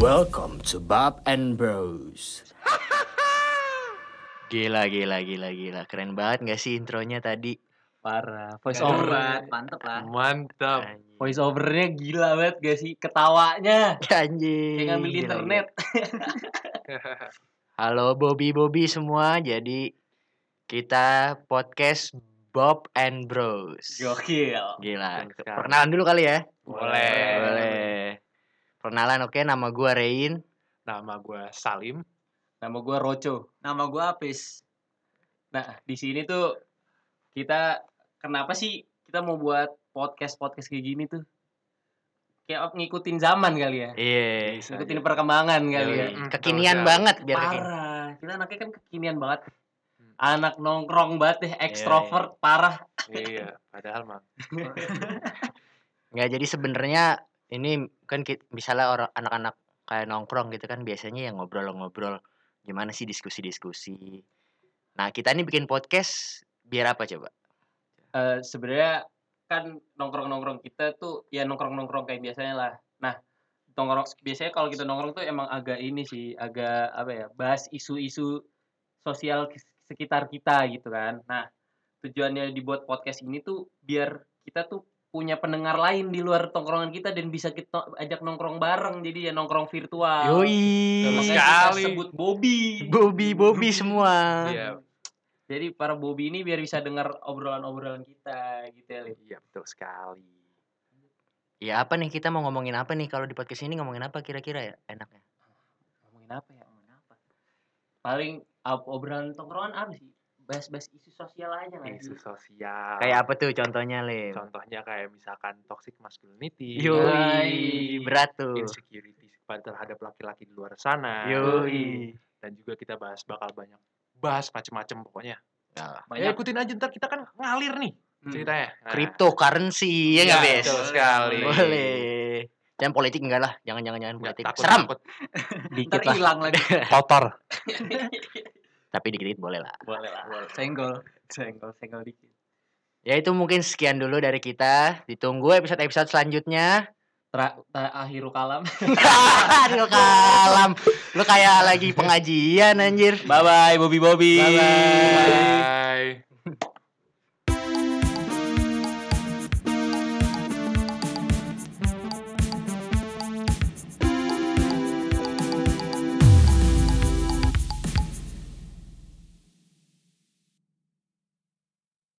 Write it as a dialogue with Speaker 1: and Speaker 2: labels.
Speaker 1: Welcome to Bob and Bros.
Speaker 2: Gila, gila, gila, gila. Keren banget gak sih intronya tadi?
Speaker 3: Parah. Voice
Speaker 4: Voice
Speaker 3: over.
Speaker 4: over, mantep lah.
Speaker 3: Mantap.
Speaker 2: Anjing.
Speaker 3: Voice overnya gila banget gak sih? Ketawanya.
Speaker 2: Anjing.
Speaker 3: Kayak ngambil
Speaker 4: Iya,
Speaker 2: Gila, gila.
Speaker 3: internet.
Speaker 2: Halo Bobby Bobby semua. Jadi kita podcast Bob and Bros.
Speaker 3: Gokil.
Speaker 2: Gila.
Speaker 3: Keren sekali.
Speaker 2: Perkenalan dulu kali ya.
Speaker 3: Boleh.
Speaker 2: Boleh. Perkenalan oke nama gua Rein.
Speaker 4: Nama gue Salim.
Speaker 3: Nama gua Roco.
Speaker 4: Nama gue Apis.
Speaker 3: Nah, di sini tuh kita kenapa sih kita mau buat podcast-podcast kayak gini tuh? Kayak ngikutin zaman kali ya.
Speaker 2: Iya.
Speaker 3: Ngikutin perkembangan kali ya.
Speaker 2: Yoi.
Speaker 4: betul
Speaker 2: Kekinian
Speaker 4: sekali.
Speaker 2: banget biar kekinian.
Speaker 3: Parah. Kita anaknya kan kekinian banget.
Speaker 4: Hmm.
Speaker 3: Anak nongkrong banget deh, ekstrovert parah.
Speaker 4: iya, padahal mah.
Speaker 2: Nggak Ya, jadi sebenarnya ini kan ki- misalnya orang anak-anak kayak nongkrong gitu kan biasanya yang ngobrol-ngobrol gimana sih diskusi-diskusi. Nah, kita ini bikin podcast biar apa coba?
Speaker 3: eh sebenarnya kan nongkrong-nongkrong kita tuh ya nongkrong-nongkrong kayak biasanya lah. Nah, nongkrong biasanya kalau kita nongkrong tuh emang agak ini sih, agak apa ya, bahas isu-isu sosial ki- sekitar kita gitu kan. Nah, tujuannya dibuat podcast ini tuh biar kita tuh punya pendengar lain di luar tongkrongan kita dan bisa kita ajak nongkrong bareng. Jadi ya nongkrong virtual.
Speaker 2: Yoi.
Speaker 3: Makanya kita
Speaker 4: Sekali.
Speaker 3: sebut Bobby.
Speaker 2: Bobby Bobby semua.
Speaker 4: Iya,
Speaker 3: Jadi para Bobby ini biar bisa dengar obrolan-obrolan kita gitu ya. Lin.
Speaker 4: iya betul sekali.
Speaker 2: Ya apa nih kita mau ngomongin apa nih kalau di podcast ini ngomongin apa kira-kira ya enaknya?
Speaker 3: ngomongin apa ya ngomongin apa paling ab- obrolan tongkrongan apa sih bahas-bahas isu sosial aja ya. nggak sih
Speaker 4: Isu sosial.
Speaker 2: Kayak apa ya? tuh contohnya, Lim?
Speaker 4: Contohnya kayak misalkan toxic masculinity.
Speaker 2: Yoi, berat tuh.
Speaker 4: Insecurity terhadap laki-laki di luar sana.
Speaker 2: Yoi.
Speaker 4: Dan juga kita bahas bakal banyak bahas macem-macem pokoknya.
Speaker 2: Nah,
Speaker 4: Ya
Speaker 3: banyak
Speaker 4: ikutin aja ntar kita kan ngalir nih
Speaker 3: Hmm.
Speaker 4: ceritanya. Nah,
Speaker 2: cryptocurrency ya nggak,
Speaker 4: Iya,
Speaker 2: Bes?
Speaker 4: Betul sekali.
Speaker 2: Boleh. Jangan politik enggak lah, jangan jangan jangan
Speaker 4: Nggak,
Speaker 2: politik.
Speaker 4: takut-
Speaker 2: Serem.
Speaker 4: takut
Speaker 3: ntar
Speaker 2: Dikit lah,
Speaker 3: hilang lagi
Speaker 4: Kotor.
Speaker 2: tapi dikit-dikit boleh lah.
Speaker 3: boleh lah senggol senggol senggol dikit
Speaker 2: Ya itu mungkin sekian dulu dari kita. Ditunggu episode-episode selanjutnya.
Speaker 3: Tra akhiru kalam
Speaker 2: Aduh kalam. Lu kayak lagi pengajian anjir.
Speaker 3: bye bye Bobby Bobby
Speaker 2: Bye-bye.